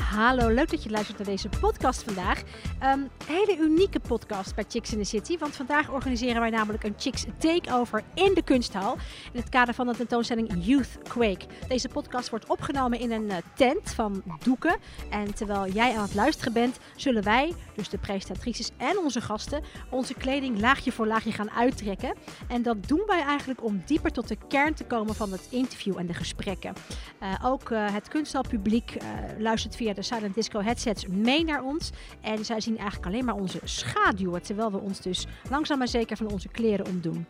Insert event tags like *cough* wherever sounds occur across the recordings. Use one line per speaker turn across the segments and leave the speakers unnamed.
Hallo, leuk dat je luistert naar deze podcast vandaag. Ehm hele unieke podcast bij Chicks in the City. Want vandaag organiseren wij namelijk een Chicks Takeover in de kunsthal. In het kader van de tentoonstelling Youth Quake. Deze podcast wordt opgenomen in een eh, tent van doeken. En terwijl jij aan het luisteren bent, zullen wij, dus de presentatrices en onze gasten, onze kleding laagje voor laagje gaan uittrekken. En dat doen wij eigenlijk om dieper tot de kern te komen van het interview en de gesprekken. Eh, ook eh, het kunsthaalpubliek eh, luistert via de Silent Disco headsets mee naar ons. En zij zien eigenlijk alleen maar onze schaduwen, terwijl we ons dus langzaam maar zeker van onze kleren omdoen.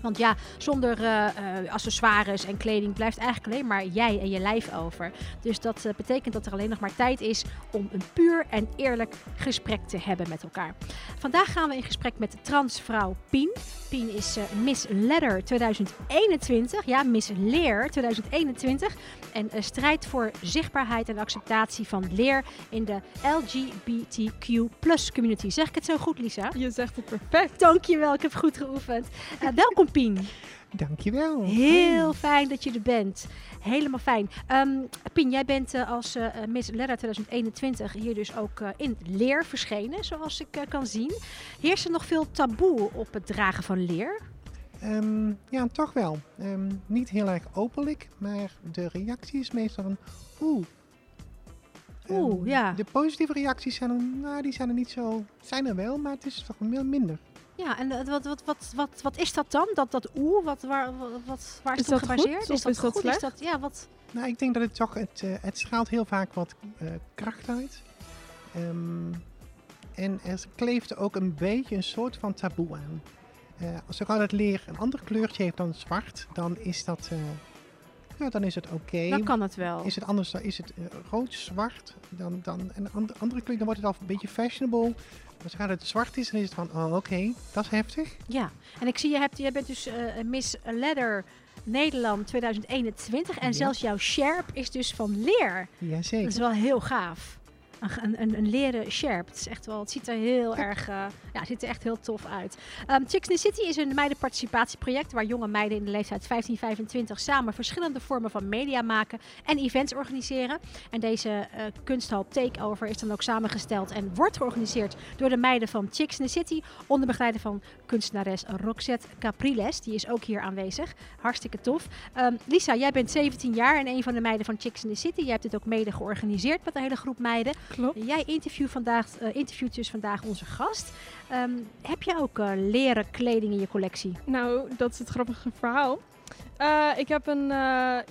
Want ja, zonder eh, eh, accessoires en kleding blijft eigenlijk alleen maar jij en je lijf over. Dus dat eh, betekent dat er alleen nog maar tijd is om een puur en eerlijk gesprek te hebben met elkaar. Vandaag gaan we in gesprek met transvrouw Pien. Pien is eh, Miss Letter 2021, ja, Miss Leer 2021. En eh, strijdt voor zichtbaarheid en acceptatie van leer in de LGBTQ community. Zeg ik het zo goed, Lisa?
Je zegt het perfect.
Dankjewel, ik heb goed geoefend. Eh, welkom Pien.
Dankjewel.
Heel fijn dat je er bent. Helemaal fijn. Ehm, Pien, jij bent eh, als eh, Miss Lera 2021 hier dus ook eh, in leer verschenen, zoals ik eh, kan zien. Heerst er nog veel taboe op het dragen van leer?
Ehm, ja, toch wel. Ehm, niet heel erg openlijk, maar de reactie is meestal van oeh. Ehm,
Oeh, ja.
De positieve reacties zijn er, nou, die zijn er niet zo. Zijn er wel, maar het is toch veel minder.
Ja, en eh, wat, wat, wat, wat, wat is dat dan? Dat, dat oeh, wat, waar, wat- wat, waar is,
Is
het op
dat
gebaseerd?
goed of is dat
Is
slecht?
dat, ja, wat,
Nou, ik denk dat het toch, het, eh, het straalt heel vaak wat eh, kracht uit. Ehm, en er kleeft ook een beetje een soort van taboe aan. Eh als ook al het leer een ander kleurtje heeft dan zwart, dan is dat, eh, ja, dan is het oké.
Dan kan het wel.
Is het anders dan is het eh, rood, zwart, dan, dan en andere, andere kleur, dan wordt het al een beetje fashionable. Maar zodra het zwart is, dan is het van, oh oké, dat is heftig.
ja. En ik zie, je hebt, jij bent dus eh, Miss Leather Nederland 2021. En
Ja.
zelfs jouw sjerp is dus van leer. Dat
Jazeker.
is wel heel gaaf. Een, ge- een, een, een leren sjerp. Het, is echt wel, het ziet er heel erg, eh, ja, het ziet er echt heel tof uit. Ehm Chicks in the City is een meidenparticipatieproject waar jonge meiden in de leeftijd 15-25 samen verschillende vormen van media maken en events organiseren. En deze eh, kunsthal Takeover is dan ook samengesteld en wordt georganiseerd door de meiden van Chicks in the City onder begeleiding van kunstenares Roxette Capriles. Die is ook hier aanwezig. Hartstikke tof. Ehm, Lisa, jij bent 17 jaar en een van de meiden van Chicks in the City. Jij hebt dit ook mede georganiseerd met een hele groep meiden.
Klopt.
Jij interviewt, vandaag, eh, interviewt dus vandaag onze gast. Ehm, heb je ook eh, leren kleding in je collectie?
Nou, dat is het grappige verhaal. Eh, ik heb een eh,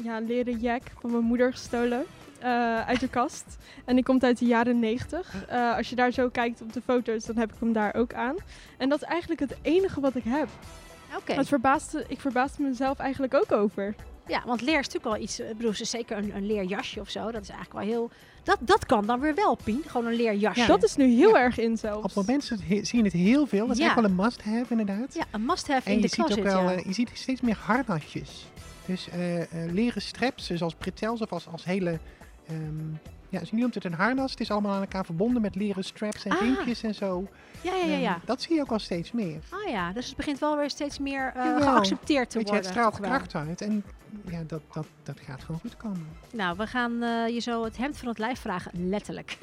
ja, leren jack van mijn moeder gestolen. eh, uit de kast. En die komt uit de jaren 90. Eh, als je daar zo kijkt op de foto's, dan heb ik hem daar ook aan. En dat is eigenlijk het enige wat ik heb.
Oké.
Het verbaasde, ik verbaasde mezelf eigenlijk ook over.
Ja, want leer is natuurlijk wel iets. eh, Ik bedoel, ze is zeker een, een leerjasje of zo. Dat is eigenlijk wel heel. Dat, dat kan dan weer wel, Pien. Gewoon een leerjasje.
Dat is nu heel
Ja.
erg in
Op
zelfs.
het moment zit- he- zie je het heel veel. Dat is
Ja.
echt wel een must-have inderdaad.
Ja, een must-have
en
in
je
de
ziet
klas.
ook wel, eh, je ziet steeds meer harnasjes. Dus eh, eh, leren straps, zoals bretels of als, als hele... ehm, ja, dus nu noemt het een harnas. Het is allemaal aan elkaar verbonden met leren straps en
Ah.
vinkjes en zo.
ja, ja, ja.
Ehm,
ja.
dat zie je ook al steeds meer.
Ah ja, dus het begint wel weer steeds meer eh,
Jawel.
geaccepteerd te
Weet je,
worden.
het straalt
toch wel?
kracht uit. En ja, dat, dat, dat gaat gewoon goed komen.
Nou, we gaan eh, je zo het hemd van het lijf vragen, letterlijk.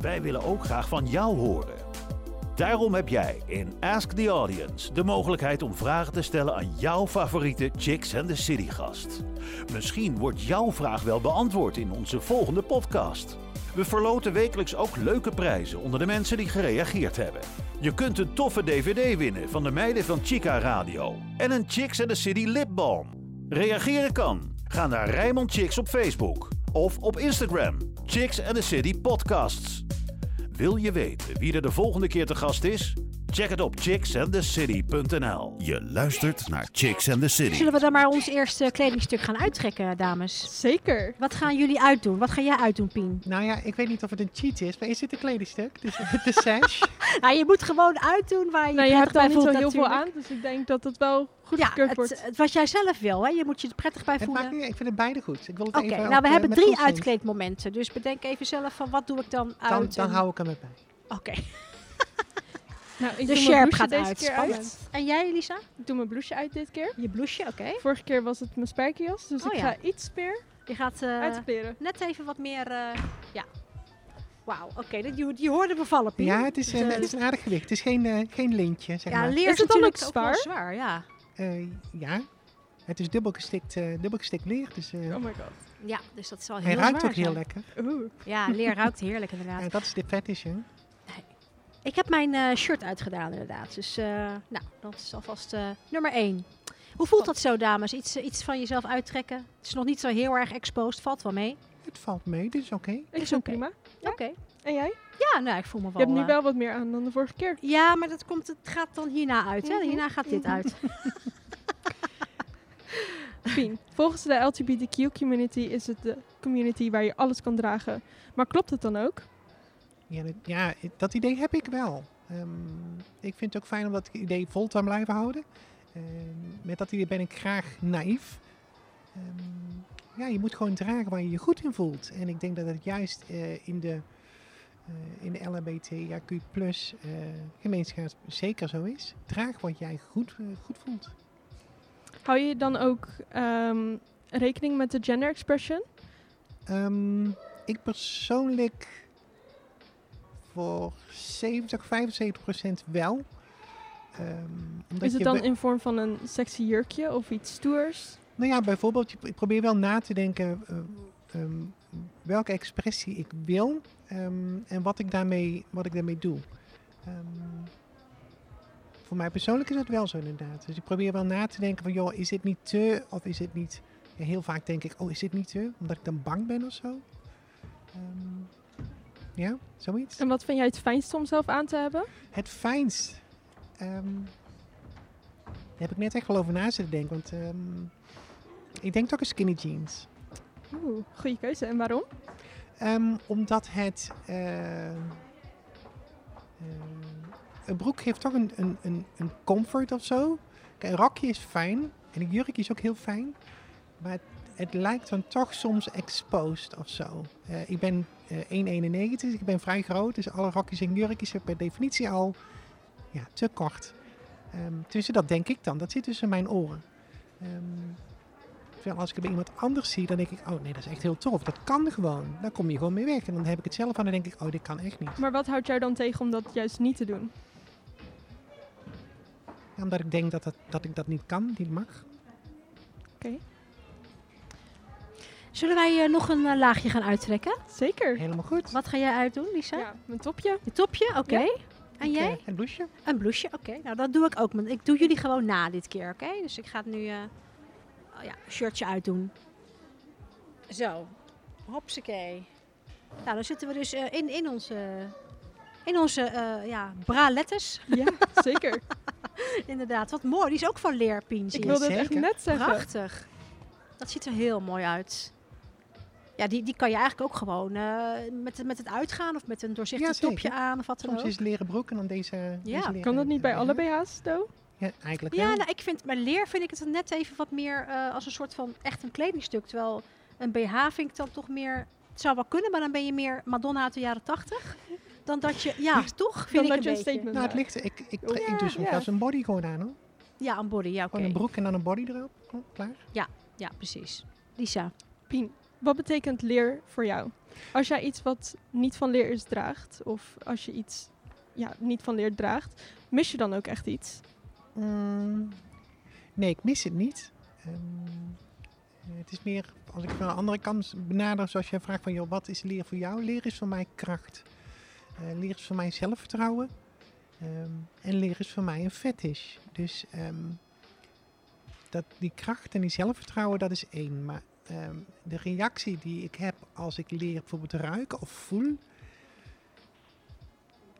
Wij willen ook graag van jou horen. Daarom heb jij in Ask the Audience de mogelijkheid om vragen te stellen aan jouw favoriete Chicks and the City gast. Misschien wordt jouw vraag wel beantwoord in onze volgende podcast. We verloten wekelijks ook leuke prijzen onder de mensen die gereageerd hebben. Je kunt een toffe DVD winnen van de meiden van Chica Radio en een Chicks and the City lipbalm. Reageren kan. Ga naar Rijmond Chicks op Facebook of op Instagram. Chicks and the City Podcasts. Wil je weten wie er de volgende keer te gast is? Check het op chicksandthecity.nl. Je luistert naar Chicks and the City.
Zullen we dan maar ons eerste kledingstuk gaan uittrekken, dames?
Zeker.
Wat gaan jullie uitdoen? Wat ga jij uitdoen, Pien?
Nou ja, ik weet niet of het een cheat is, maar is dit een kledingstuk? Dus *laughs* de
*laughs*
sash?
Nou, je moet gewoon uitdoen waar je
Nou, je hebt
prettig
daar
bij
niet zo
voelt
heel veel
natuurlijk.
aan, dus ik denk dat het wel goed
Ja,
gekeurd
het, eh,
wordt.
het- wat jij zelf wil, hè? je moet je er prettig bij
Het
voelen.
maakt niet, ik vind het beide goed. Ik wil het
Oké,
even
nou
ook,
we
eh,
hebben
met
drie
consent.
uitkleedmomenten. Dus bedenk even zelf van wat doe ik dan uit.
Dan, dan
en-
hou ik hem erbij.
Oké.
Nou, ik
De
doe
sjerp
mijn
gaat
blouseje deze
uit.
keer
Spannend.
uit.
En jij, Lisa?
Ik doe mijn blouseje uit dit keer.
Je blouseje, oké.
Vorige keer was het mijn spijkerjas, dus
Oh
ik
ja.
ga iets meer
Je gaat eh,
uitkleren.
net even wat meer... eh, ja. Wauw, oké. dat je, je hoorde me vallen, Pien.
Ja, het is, eh,
Dus, eh,
het is een aardig gewicht. Het is geen, eh, geen lintje, zeg
ja,
maar.
leer
Is
is
het dan
natuurlijk
ook
ook wel zwaar, ja.
Eh, ja, het is dubbel gestikt, eh, dubbel gestikt leer. Dus, eh,
Oh my god.
Ja, dus dat is wel heel
hij ruikt
zwaar
ook heel
zijn.
lekker.
Oeh.
Ja, leer ruikt heerlijk inderdaad.
Ja, dat is de fetish, hè?
Ik heb mijn eh, shirt uitgedaan inderdaad. Dus eh, nou, dat is alvast eh, nummer één. Hoe voelt dat zo, dames? Iets, eh, iets van jezelf uittrekken? Het is nog niet zo heel erg exposed. Valt wel mee.
Het valt mee, dit is oké.
Ik
Is
is
oké.
prima.
Oké.
Ja. En jij?
Ja, nou, ik voel me
Je
wel...
hebt nu
eh,
wel wat meer aan dan de vorige
*laughs*
keer.
Ja, maar dat komt, het gaat dan hierna uit. Hè?
Mhm.
Hierna gaat dit
Mhm.
uit.
Fien, volgens de LGBTQ community is het de community waar je alles kan dragen. Maar klopt het dan ook?
Ja, dat, ja, dat idee heb ik wel. Ehm, ik vind het ook fijn om dat idee vol te blijven houden. Ehm, met dat idee ben ik graag naïef. Ehm, ja, je moet gewoon dragen waar je je goed in voelt. En ik denk dat het juist eh, in de, eh in de LHBTIQ plus eh, gemeenschap zeker zo is. Draag wat jij goed, eh, goed voelt.
Hou je dan ook ehm, rekening met de gender expression?
Ehm, ik persoonlijk voor 70, 75 procent wel. Ehm, omdat
Is het
je
dan
we-
in vorm van een sexy jurkje of iets stoers?
Nou ja, bijvoorbeeld, je pro- ik probeer wel na te denken eh, ehm, welke expressie ik wil ehm, en wat ik daarmee, wat ik daarmee doe. Ehm, voor mij persoonlijk is dat wel zo inderdaad. Dus ik probeer wel na te denken van, joh, is dit niet te of is dit niet... Ja, heel vaak denk ik, oh, is dit niet te? Omdat ik dan bang ben of zo. Ehm, ja, zoiets.
En wat vind jij het fijnst om zelf aan te hebben?
Het fijnst. Ehm, daar heb ik net echt wel over na zitten denken. Want ehm, ik denk toch een skinny jeans.
Oeh, goede keuze. En waarom?
Ehm, omdat het. eh, eh, Ehm, een broek geeft toch een, een, een, een comfort of zo. Kijk, een rokje is fijn. En een jurkje is ook heel fijn. Maar het, het lijkt dan toch soms exposed of zo. Eh, ik ben eh, 1,91. Ik ben vrij groot. Dus alle rokjes en jurkjes zijn per definitie al ja, te kort. Ehm, tussen dat denk ik dan. Dat zit tussen mijn oren. Ehm, Terwijl als ik het bij iemand anders zie, dan denk ik, oh nee, dat is echt heel tof. Dat kan gewoon. Daar kom je gewoon mee weg. En dan heb ik het zelf aan en dan denk ik, oh, dit kan echt niet.
Maar wat houdt jou dan tegen om dat juist niet te doen?
Ja, Omdat ik denk dat, dat, dat ik dat niet kan, niet mag.
Zullen wij eh, nog een eh, laagje gaan uittrekken?
Zeker.
Helemaal goed.
Wat ga jij uitdoen, Lisa?
Ja, mijn topje.
Je topje? Oké. En
Ik,
jij?
eh, een blouseje.
Een blouseje, oké. Nou, dat doe ik ook. maar Ik doe jullie gewoon na dit keer, oké? Dus ik ga het nu eh oh ja, shirtje uitdoen. Zo. Hopsakee. Nou, dan zitten we dus eh, in, in onze, in onze eh, ja, bralettes.
Ja, zeker.
*laughs* Inderdaad. Wat mooi. Die is ook van leer, Pientje.
Ik wilde het echt
Zeker.
net zeggen.
Prachtig. Dat ziet er heel mooi uit. Ja, die, die kan je eigenlijk ook gewoon eh, met, met het uitgaan of met een doorzichtig
Ja, zeker.
topje aan of wat dan
Soms
ook.
is leren broek en dan deze. deze leren-
Kan dat niet bij
eh,
alle BH's, Do?
Ja, eigenlijk
Ja,
wel.
nou, ik vind bij leer vind ik het dan net even wat meer eh, als een soort van echt een kledingstuk. Terwijl een BH vind ik dan toch meer. Het zou wel kunnen, maar dan ben je meer Madonna uit de jaren tachtig. Dan dat je.
*laughs*
Ja, toch? Vind
Dan
ik
dat
een
je een
beetje.
statement
Nou, het
maakt.
ligt. Ik, ik, dus ik,
Ja,
ik doe soms
ja.
zelfs een body gewoon aan hoor.
Ja, een body. Ja, oké.
Gewoon een broek en dan een body erop. Oh, klaar.
Ja, precies. Lisa.
Pien, wat betekent leer voor jou? Als jij iets wat niet van leer is draagt, of als je iets ja, niet van leer draagt, mis je dan ook echt iets?
Mm, nee, ik mis het niet. Ehm, eh, het is meer, als ik van de andere kant benader, zoals jij vraagt van, joh, wat is leren voor jou? Leren is voor mij kracht. Eh leren is voor mij zelfvertrouwen. Ehm, en leren is voor mij een fetish. Dus ehm, dat, die kracht en die zelfvertrouwen, dat is één. Maar ehm, de reactie die ik heb als ik leer bijvoorbeeld ruiken of voel,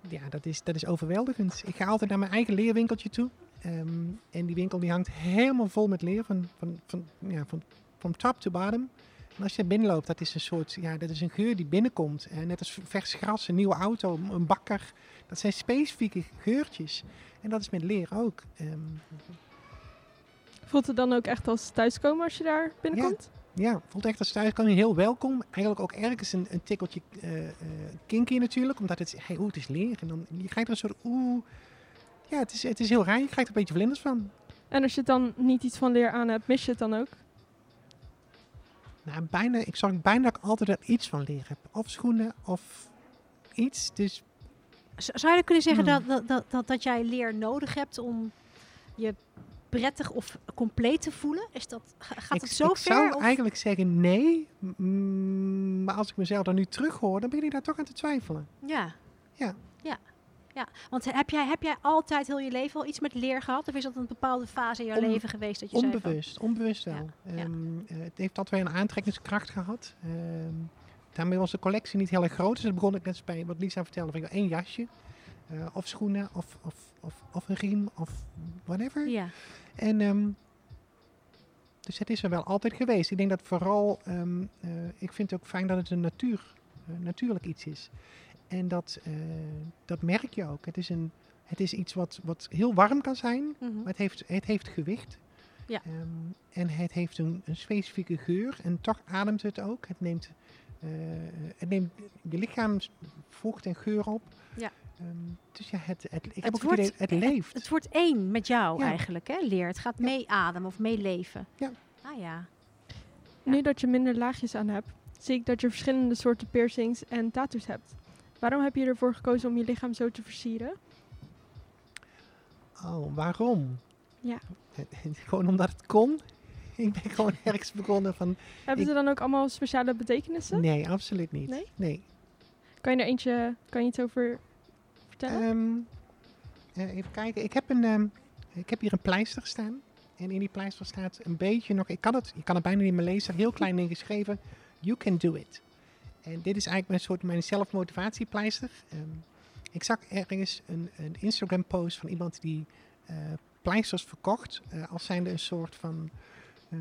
ja, dat is, dat is overweldigend. Ik ga altijd naar mijn eigen leerwinkeltje toe. Ehm, en die winkel die hangt helemaal vol met leer, van, van, van, ja, van, van top to bottom. En als je daar binnenloopt, dat is een soort, ja, dat is een geur die binnenkomt. Eh, net als vers gras, een nieuwe auto, m- een bakker. Dat zijn specifieke geurtjes. En dat is met leer ook. Ehm,
Voelt het dan ook echt als thuiskomen als je daar binnenkomt?
ja, voelt echt als thuis kan je heel welkom. Eigenlijk ook ergens een, een tikkeltje eh eh, kinky natuurlijk, omdat het, is- hey, oeh, het is leer. En dan je krijgt er een soort oeh, Ja, het is, het is heel raar. Je krijgt er een beetje vlinders van.
En als je dan niet iets van leer aan hebt, mis je het dan ook?
Nou, bijna, ik zorg bijna dat ik altijd er iets van leer heb. Of schoenen of iets. Dus
Z- Zou je kunnen zeggen
Hmm.
dat, dat, dat, dat, dat jij leer nodig hebt om je prettig of compleet te voelen? Is dat, ga- gaat
ik,
het zo
ik
ver?
zou
of-
eigenlijk zeggen nee. Mm, maar als ik mezelf dan nu terughoor, dan begin ik daar toch aan te twijfelen.
Ja.
Ja.
ja. Ja, want heb jij, heb jij altijd heel je leven al iets met leer gehad? Of is dat een bepaalde fase in jouw
On-
leven geweest dat je zei van-
Onbewust, onbewust wel.
ja.
Ehm, eh, het heeft altijd wel een aantrekkingskracht gehad. Ehm, daarmee was de collectie niet heel erg groot. Dus dan begon ik net als bij wat Lisa vertelde. Van, ik wil één jasje. eh, of schoenen, of, of, of, of een riem, of whatever.
Ja,
En, ehm, dus het is er wel altijd geweest. Ik denk dat vooral, ehm, eh, ik vind het ook fijn dat het een natuur, eh, natuurlijk iets is. En dat, eh, dat merk je ook. Het is, een, het is iets wat, wat heel warm kan zijn,
mhm.
maar het heeft, het heeft gewicht.
Ja.
Ehm, en het heeft een, een specifieke geur en toch ademt het ook. Het neemt, eh, het neemt je lichaam vocht en geur op.
Ja.
Ehm, dus ja, het, het, ik heb
Het
ook
wordt-
het idee, het leeft.
Het wordt één met jou
Ja.
eigenlijk, hè? Leer. Het gaat meeademen of meeleven.
Ja.
Ah ja. Ja.
Nu dat je minder laagjes aan hebt, zie ik dat je verschillende soorten piercings en tattoos hebt. Waarom heb je ervoor gekozen om je lichaam zo te versieren?
Oh, waarom?
Ja.
*laughs* gewoon omdat het kon. *laughs* Ik ben
*laughs*
gewoon ergens begonnen van...
Hebben
Ik-
ze dan ook allemaal speciale betekenissen?
Nee, absoluut niet.
Nee? Kan je er eentje, kan je iets over vertellen?
Ehm, eh, even kijken. Ik heb, een, ehm, ik heb hier een pleister staan. En in die pleister staat een beetje nog... Ik kan het, je kan het bijna niet meer lezen. Heel klein ding geschreven. You can do it. En dit is eigenlijk mijn soort mijn zelfmotivatiepleister. Ehm, ik zag ergens een, een Instagram post van iemand die eh, pleisters verkocht. eh, als zijnde een soort van... ehm,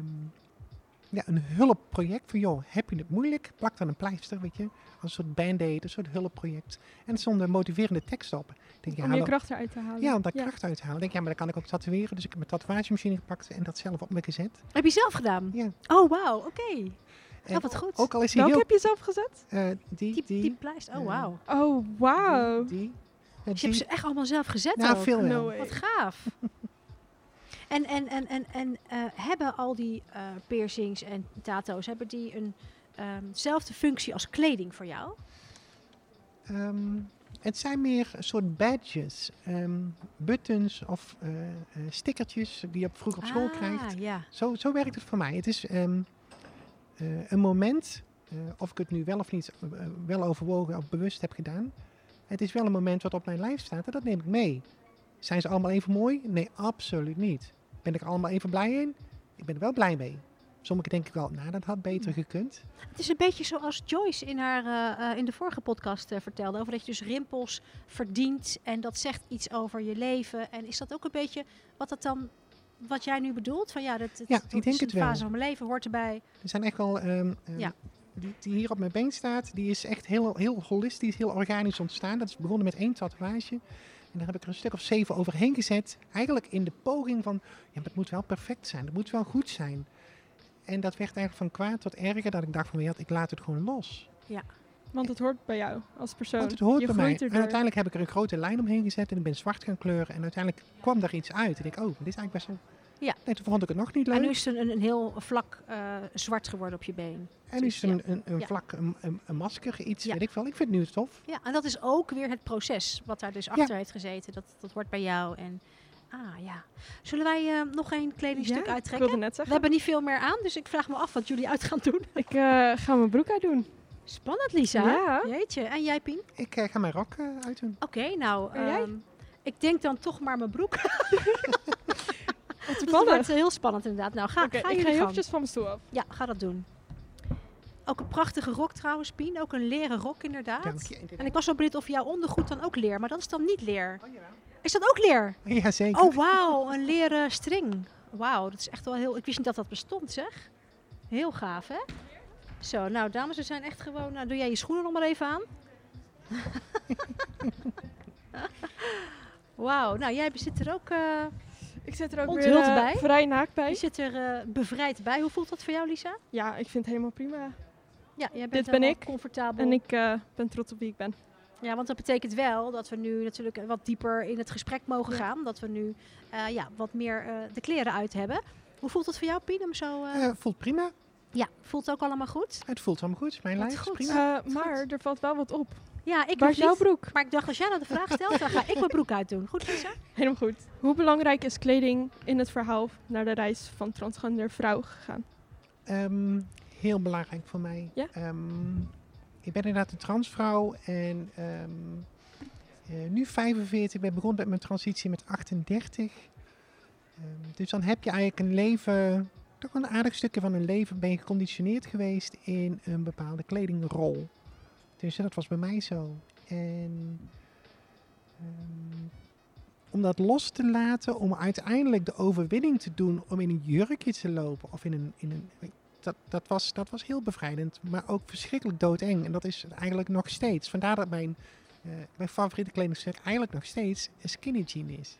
ja, een hulpproject van, joh, heb je het moeilijk? Plak dan een pleister, weet je. Als een soort band-aid, een soort hulpproject. En er stonden motiverende tekst op. Ik denk, ja,
om je
hallo.
kracht eruit te halen.
Ja, om daar kracht uit te halen. Ik denk, ja, maar dat kan ik ook tatoeëren. Dus ik heb mijn tatoeagemachine gepakt en dat zelf op me gezet.
Heb je zelf gedaan?
Ja.
Oh, wauw. Oké.
En
Oh, wat goed.
Ook al is hij
Welke
heel...
heb je zelf gezet?
eh, die,
die,
die,
die pleister. Oh,
eh,
wauw.
Oh, wauw.
Die, eh,
Dus je hebt
die.
ze echt allemaal zelf gezet
Nou,
ook?
veel
No
wel.
way.
Wat gaaf. *laughs* en en, en, en, en eh, hebben al die eh, piercings en tato's, hebben die eenzelfde functie als kleding voor jou?
Ehm, het zijn meer een soort badges. ehm, buttons of eh, eh, stickertjes die je op- vroeg op school
ah,
krijgt.
ja.
Zo, zo werkt het voor mij. Het is ehm, eh, een moment, eh, of ik het nu wel of niet eh, wel overwogen of bewust heb gedaan. Het is wel een moment wat op mijn lijf staat en dat neem ik mee. Zijn ze allemaal even mooi? Nee, absoluut niet. Ben ik er allemaal even blij in? Ik ben er wel blij mee. Sommige denk ik wel, nou dat had beter gekund.
Het is een beetje zoals Joyce in, haar, eh, eh, in de vorige podcast eh, vertelde, over dat je dus rimpels verdient en dat zegt iets over je leven. En is dat ook een beetje wat dat dan... Wat jij nu bedoelt, van ja, dat, dat,
Ja,
dat
ik
is
denk het
een
wel.
fase van mijn leven, hoort erbij.
Er zijn echt wel, ehm, ehm,
Ja.
die, die hier op mijn been staat, die is echt heel, heel holistisch, heel organisch ontstaan. Dat is begonnen met één tatoeage. En daar heb ik er een stuk of zeven overheen gezet. Eigenlijk in de poging van, ja, maar het moet wel perfect zijn. Het moet wel goed zijn. En dat werd eigenlijk van kwaad tot erger dat ik dacht van, weet je wat, ik laat het gewoon los.
Want het hoort bij jou als persoon.
Want het hoort
je
bij mij.
groeit
En
erdoor.
uiteindelijk heb ik er een grote lijn omheen gezet en ik ben zwart gaan kleuren. En uiteindelijk kwam daar iets uit. En ik denk, oh, dit is eigenlijk best wel...
Ja.
Nee, toen vond ik het nog niet leuk.
En nu is het een, een heel vlak eh, zwart geworden op je been.
En is
Dus,
het een, een, een
Ja.
vlak, een, een, een masker, iets,
Ja.
weet ik wel. Ik vind het nu tof.
Ja, en dat is ook weer het proces wat daar dus achter heeft gezeten. Dat, dat hoort bij jou. En, ah ja. Zullen wij eh, nog één kledingstuk
Ja, Ik
uittrekken?
wilde net
We
zeggen.
hebben niet veel meer aan, dus ik vraag me af wat jullie uit gaan doen. *laughs*
Ik eh, ga mijn broek uitdoen.
Spannend, Lisa.
Ja.
Jeetje. En jij, Pien?
Ik eh, ga mijn rok eh, uitdoen.
Oké, nou,
En jij?
ehm, ik denk dan toch maar mijn broek. *laughs* Want Het
Spannend.
wordt eh, heel spannend inderdaad. Nou, ga,
Oké,
ga
ik ga
jullie
heel
gang.
eventjes van mijn stoel af.
Ja, ga dat doen. Ook een prachtige rok trouwens, Pien. Ook een leren rok inderdaad.
Dank je.
En ik was wel benieuwd of jouw ondergoed dan ook leer, maar dat is dan niet leer.
Oh, jawel.
Is dat ook leer?
Jazeker.
Oh, wauw, een leren string. Wauw, dat is echt wel heel. Ik wist niet dat dat bestond, zeg. Heel gaaf, hè? Zo, nou, dames, we zijn echt gewoon. Nou, doe jij je schoenen nog maar even *laughs* aan. wauw, nou, jij zit er ook eh,
Ik zit er ook
Onthuld
weer eh,
bij?
vrij naakt bij.
je zit er eh, bevrijd bij. Hoe voelt dat voor jou, Lisa?
Ja,
Oh.
ik vind het helemaal prima.
Ja, jij bent
Dit ben
helemaal
ik.
comfortabel.
En ik eh, ben trots op wie ik ben.
Ja, want dat betekent wel dat we nu natuurlijk wat dieper in het gesprek mogen gaan. Dat we nu eh, ja, wat meer eh, de kleren uit hebben. Hoe voelt het voor jou, Pien? Om zo, eh,
Eh, voelt prima.
ja, voelt het ook allemaal goed?
Het voelt allemaal goed. Mijn
Wat
lijf is
goed.
prima.
Eh,
goed.
maar er valt wel wat op.
Ja, ik nog
Waar is jouw
niet.
broek?
Maar ik dacht, als jij nou de vraag stelt, dan ga ik mijn broek uitdoen. Goed, Lisa?
Helemaal goed. Hoe belangrijk is kleding in het verhaal naar de reis van transgender vrouw gegaan?
Ehm, heel belangrijk voor mij.
Ja?
Ehm, ik ben inderdaad een transvrouw en ehm, eh, nu 45. Ik ben begonnen met mijn transitie met 38. Ehm, dus dan heb je eigenlijk een leven, toch wel een aardig stukje van een leven, ben je geconditioneerd geweest in een bepaalde kledingrol. Dus dat was bij mij zo. En ehm, om dat los te laten, om uiteindelijk de overwinning te doen om in een jurkje te lopen of in een. In een dat, dat, was, dat was heel bevrijdend, maar ook verschrikkelijk doodeng. En dat is het eigenlijk nog steeds. Vandaar dat mijn, eh, mijn favoriete kledingstuk eigenlijk nog steeds een skinny jean is.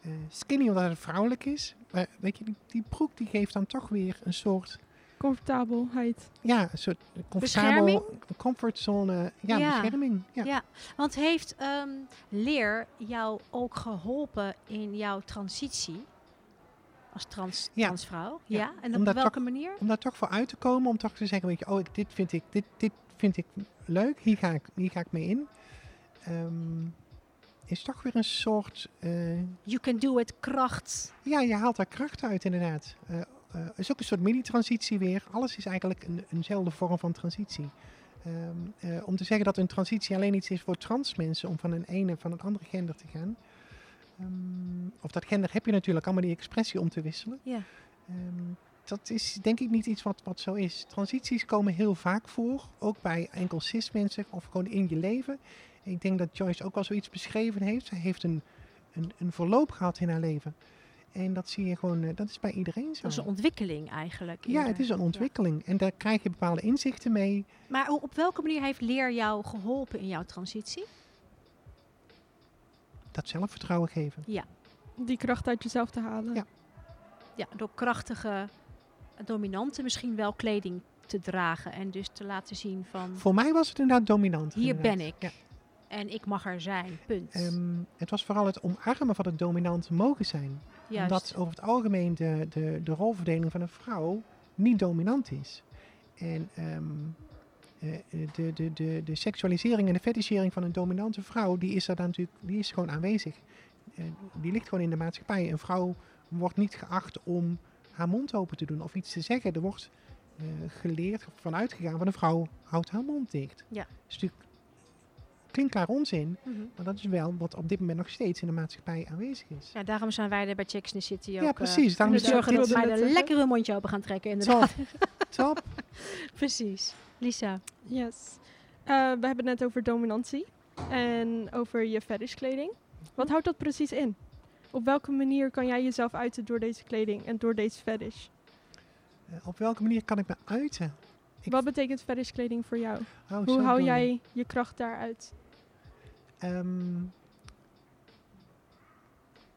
Eh, skinny omdat het vrouwelijk is, maar weet je, die, die broek die geeft dan toch weer een soort,
Comfortabelheid.
ja, een soort comfortabel comfortzone, ja,
Ja.
bescherming. Ja.
Ja. Want heeft ehm, leer jou ook geholpen in jouw transitie als trans,
Ja.
transvrouw? Ja.
Ja.
En op
Omdat
welke manier?
om daar toch voor uit te komen. Om toch te zeggen, weet je, oh, ik, dit, vind ik, dit, dit vind ik leuk. Hier ga ik, hier ga ik mee in. Ehm, is toch weer een soort... eh,
You can do it, kracht.
ja, je haalt daar kracht uit inderdaad. Eh eh, is ook een soort mini-transitie weer. Alles is eigenlijk een, eenzelfde vorm van transitie. Ehm, eh, om te zeggen dat een transitie alleen iets is voor trans mensen... om van een ene van het andere gender te gaan... Ehm, of dat gender heb je natuurlijk allemaal die expressie om te wisselen.
Ja.
Ehm, dat is denk ik niet iets wat, wat zo is. Transities komen heel vaak voor, ook bij enkel cis mensen of gewoon in je leven. Ik denk dat Joyce ook wel zoiets beschreven heeft. Zij heeft een, een, een verloop gehad in haar leven. En dat zie je gewoon, eh, dat is bij iedereen zo.
Dat is een ontwikkeling eigenlijk. eh,
ja,
eerder.
het is een ontwikkeling. En daar krijg je bepaalde inzichten mee.
Maar hoe- op welke manier heeft leer jou geholpen in jouw transitie?
Dat zelfvertrouwen geven.
Die kracht uit jezelf te halen.
Ja.
Ja, door krachtige, dominante misschien wel kleding te dragen. En dus te laten zien van,
Voor mij was het inderdaad dominant.
hier
inderdaad.
ben ik.
Ja.
En ik mag er zijn, punt.
Ehm, het was vooral het omarmen van het dominant mogen zijn.
Juist.
Omdat over het algemeen de, de, de rolverdeling van een vrouw niet dominant is. En ehm, eh, eh, de, de, de, de seksualisering en de fetishering van een dominante vrouw, die is er dan natuurlijk, die is gewoon aanwezig. Eh, die ligt gewoon in de maatschappij. Een vrouw wordt niet geacht om haar mond open te doen of iets te zeggen. Er wordt eh, geleerd, vanuit gegaan van een vrouw houdt haar mond dicht.
Ja.
Dat is natuurlijk klinkklaar onzin,
Mhm.
maar dat is wel wat op dit moment nog steeds in de maatschappij aanwezig is.
Ja, daarom zijn wij er bij Chicks in the City ook.
Ja,
eh,
precies. Daarom
we
is het
zorgen
ook
dat
heel
wij er
leuk, hè?
lekker een mondje open gaan trekken. Inderdaad.
Top. Top.
*laughs* Precies. Lisa.
Yes. Eh, we hebben het net over dominantie en over je fetishkleding. Wat houdt dat precies in? Op welke manier kan jij jezelf uiten door deze kleding en door deze fetish?
Eh, op welke manier kan ik me uiten? Ik-
Wat betekent fetishkleding voor jou?
Oh, zo
Hoe hou
bedoel je.
jij je kracht daaruit?
Ehm,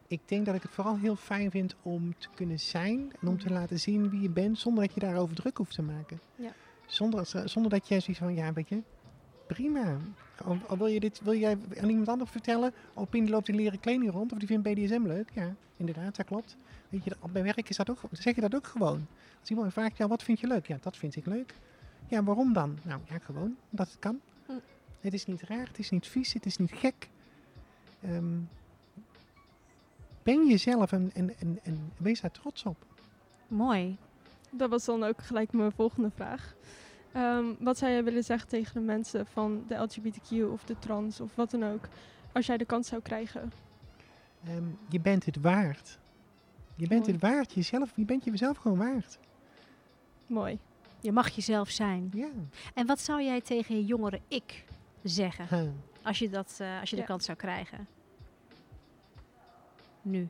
ik denk dat ik het vooral heel fijn vind om te kunnen zijn en om te laten zien wie je bent zonder dat je daarover druk hoeft te maken.
Ja.
Zonder, eh, zonder dat jij zoiets van, ja, weet je, prima. Al, al wil, je dit, wil jij aan iemand anders vertellen, oh, Pien die loopt in leren kleding rond of die vindt BDSM leuk. Ja, inderdaad, dat klopt. Weet je, bij werk is dat ook, zeg je dat ook gewoon. Als iemand je vraagt, ja, wat vind je leuk? Ja, dat vind ik leuk. Ja, waarom dan? Nou, ja, gewoon, omdat het kan. Het is niet raar, het is niet vies, het is niet gek. Ehm, ben jezelf en, en, en, en wees daar trots op.
Mooi.
Dat was dan ook gelijk mijn volgende vraag. Ehm, wat zou jij willen zeggen tegen de mensen van de LGBTQ of de trans of wat dan ook, als jij de kans zou krijgen?
Ehm, je bent het waard. Je bent
Mooi.
het waard, jezelf, je bent jezelf gewoon waard.
Mooi.
Je mag jezelf zijn.
Ja.
En wat zou jij tegen je jongere ik zeggen
Ha.
als je, dat, eh, als je de
Ja.
kans zou krijgen? Nu.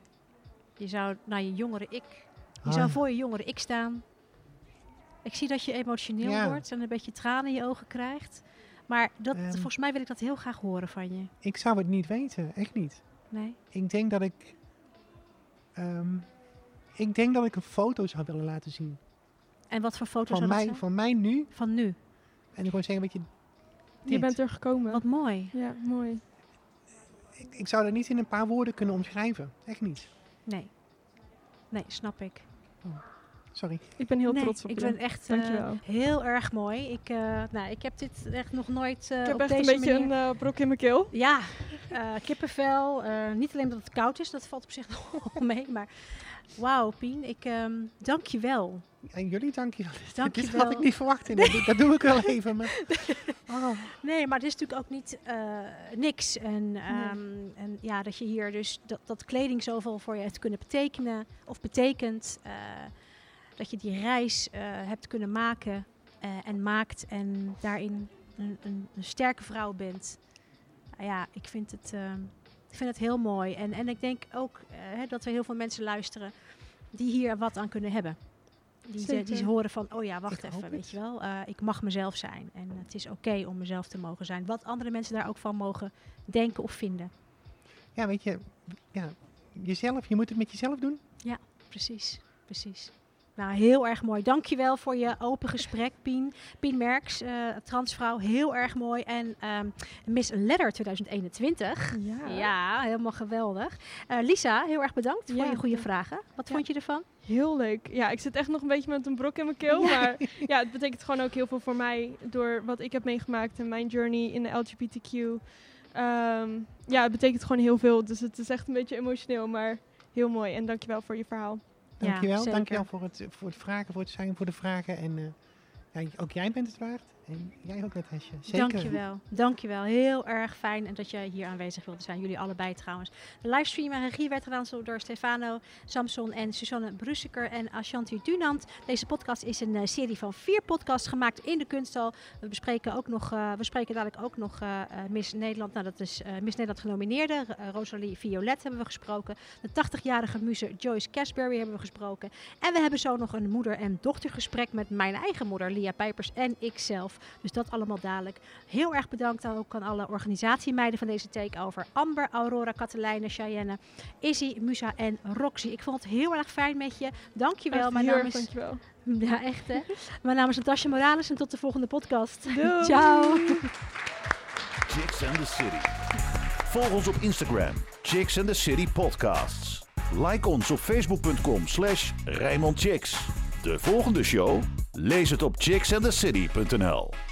Je zou naar je jongere ik. Je
Ah.
zou voor je jongere ik staan. Ik zie dat je emotioneel
Ja.
wordt en een beetje tranen in je ogen krijgt. Maar dat,
Ehm.
volgens mij wil ik dat heel graag horen van je.
Ik zou het niet weten, echt niet.
Nee?
Ik denk dat ik. ehm, ik denk dat ik een foto zou willen laten zien.
En wat voor foto's
Van
zou dat
mij,
zijn?
van mij nu.
Van nu.
En gewoon zeggen, weet je,
Je bent er gekomen.
Wat mooi.
Ja, mooi.
Ik, ik zou dat niet in een paar woorden kunnen omschrijven. Echt niet.
Nee. Nee, snap ik.
Sorry.
Ik ben heel
Nee,
trots op
ik
je.
ben echt eh,
Dankjewel.
heel erg mooi. Ik, eh, nou, ik heb dit echt nog nooit eh
ik heb
op
echt een
deze
beetje
manier...
een eh, brok in mijn keel.
Ja, eh, kippenvel. eh, niet alleen omdat het koud is, dat valt op zich *laughs* nog wel mee. Maar wauw, Pien, ik, ehm dank je wel.
En jullie dank je. *laughs*
Dank je
Dit had ik
wel.
niet verwacht. In
*laughs*
Dat doe ik wel even. Maar... Oh.
Nee, maar het is natuurlijk ook niet eh, niks. En, ehm, en ja, dat je hier dus dat, dat kleding zoveel voor je hebt kunnen betekenen of betekent. eh, dat je die reis eh, hebt kunnen maken eh, en maakt en daarin een, een, een sterke vrouw bent. Nou ja, ik vind het, ehm, ik vind het heel mooi. En, en ik denk ook eh, hè, dat we heel veel mensen luisteren die hier wat aan kunnen hebben. Die, ze- die
Zeker.
ze horen van, oh ja, wacht
Ik
even,
hoop
weet
het.
je wel. eh, ik mag mezelf zijn en het is oké om mezelf te mogen zijn. Wat andere mensen daar ook van mogen denken of vinden.
Ja, weet je. Ja, jezelf. Je moet het met jezelf doen.
Precies, precies. Nou, heel erg mooi. Dankjewel voor je open gesprek, Pien. Pien Merks, eh, transvrouw, heel erg mooi. En ehm, Miss Letter 2021.
Ja.
Ja, helemaal geweldig. Eh, Lisa, heel erg bedankt voor
Ja,
je goede
ja.
vragen. Wat
Ja.
vond je ervan?
Heel leuk. Ja, ik zit echt nog een beetje met een brok in mijn keel.
Ja. *laughs*
Maar ja, het betekent gewoon ook heel veel voor mij door wat ik heb meegemaakt en mijn journey in de LGBTQ. Ehm, ja, het betekent gewoon heel veel. Dus het is echt een beetje emotioneel, maar heel mooi. En dankjewel voor je verhaal.
Dankjewel.
zeker.
dankjewel voor het, voor het vragen, voor het zijn, voor de vragen. En eh, ja, ook jij bent het waard. En jij ook, Natasja. Zeker.
Dankjewel, dankjewel. Heel erg fijn en dat je hier aanwezig wilde zijn. Jullie allebei trouwens. De livestream en regie werd gedaan zo door Stefano Samson en Susanne Brusseker en Ashanti Dunant. Deze podcast is een eh, serie van vier podcasts gemaakt in de kunsthal. We bespreken ook nog, eh, we spreken dadelijk ook nog eh, eh, Miss Nederland. Nou, dat is eh, Miss Nederland genomineerde. Eh, Rosalie Violet hebben we gesproken. De 80-jarige muze Joyce Casberry hebben we gesproken. En we hebben zo nog een moeder- en dochtergesprek met mijn eigen moeder, Lia Pijpers en ikzelf. Dus dat allemaal dadelijk. Heel erg bedankt dan ook aan alle organisatiemeiden van deze takeover. Amber, Aurora, Katelijne, Cheyenne, Izzy, Musa en Roxy. Ik vond het heel erg fijn met je. Dankjewel.
Echt
mijn
heel
naam
erg
is... *laughs*
dankjewel.
Ja, echt hè. mijn naam is Natasja Morales en tot de volgende podcast.
Doei.
Ciao.
Chicks and the City. Volg ons op Instagram, Chicks and the City Podcasts. Like ons op facebook.com slash Rijnmond Chicks. De volgende show? Lees het op chicksandthecity.nl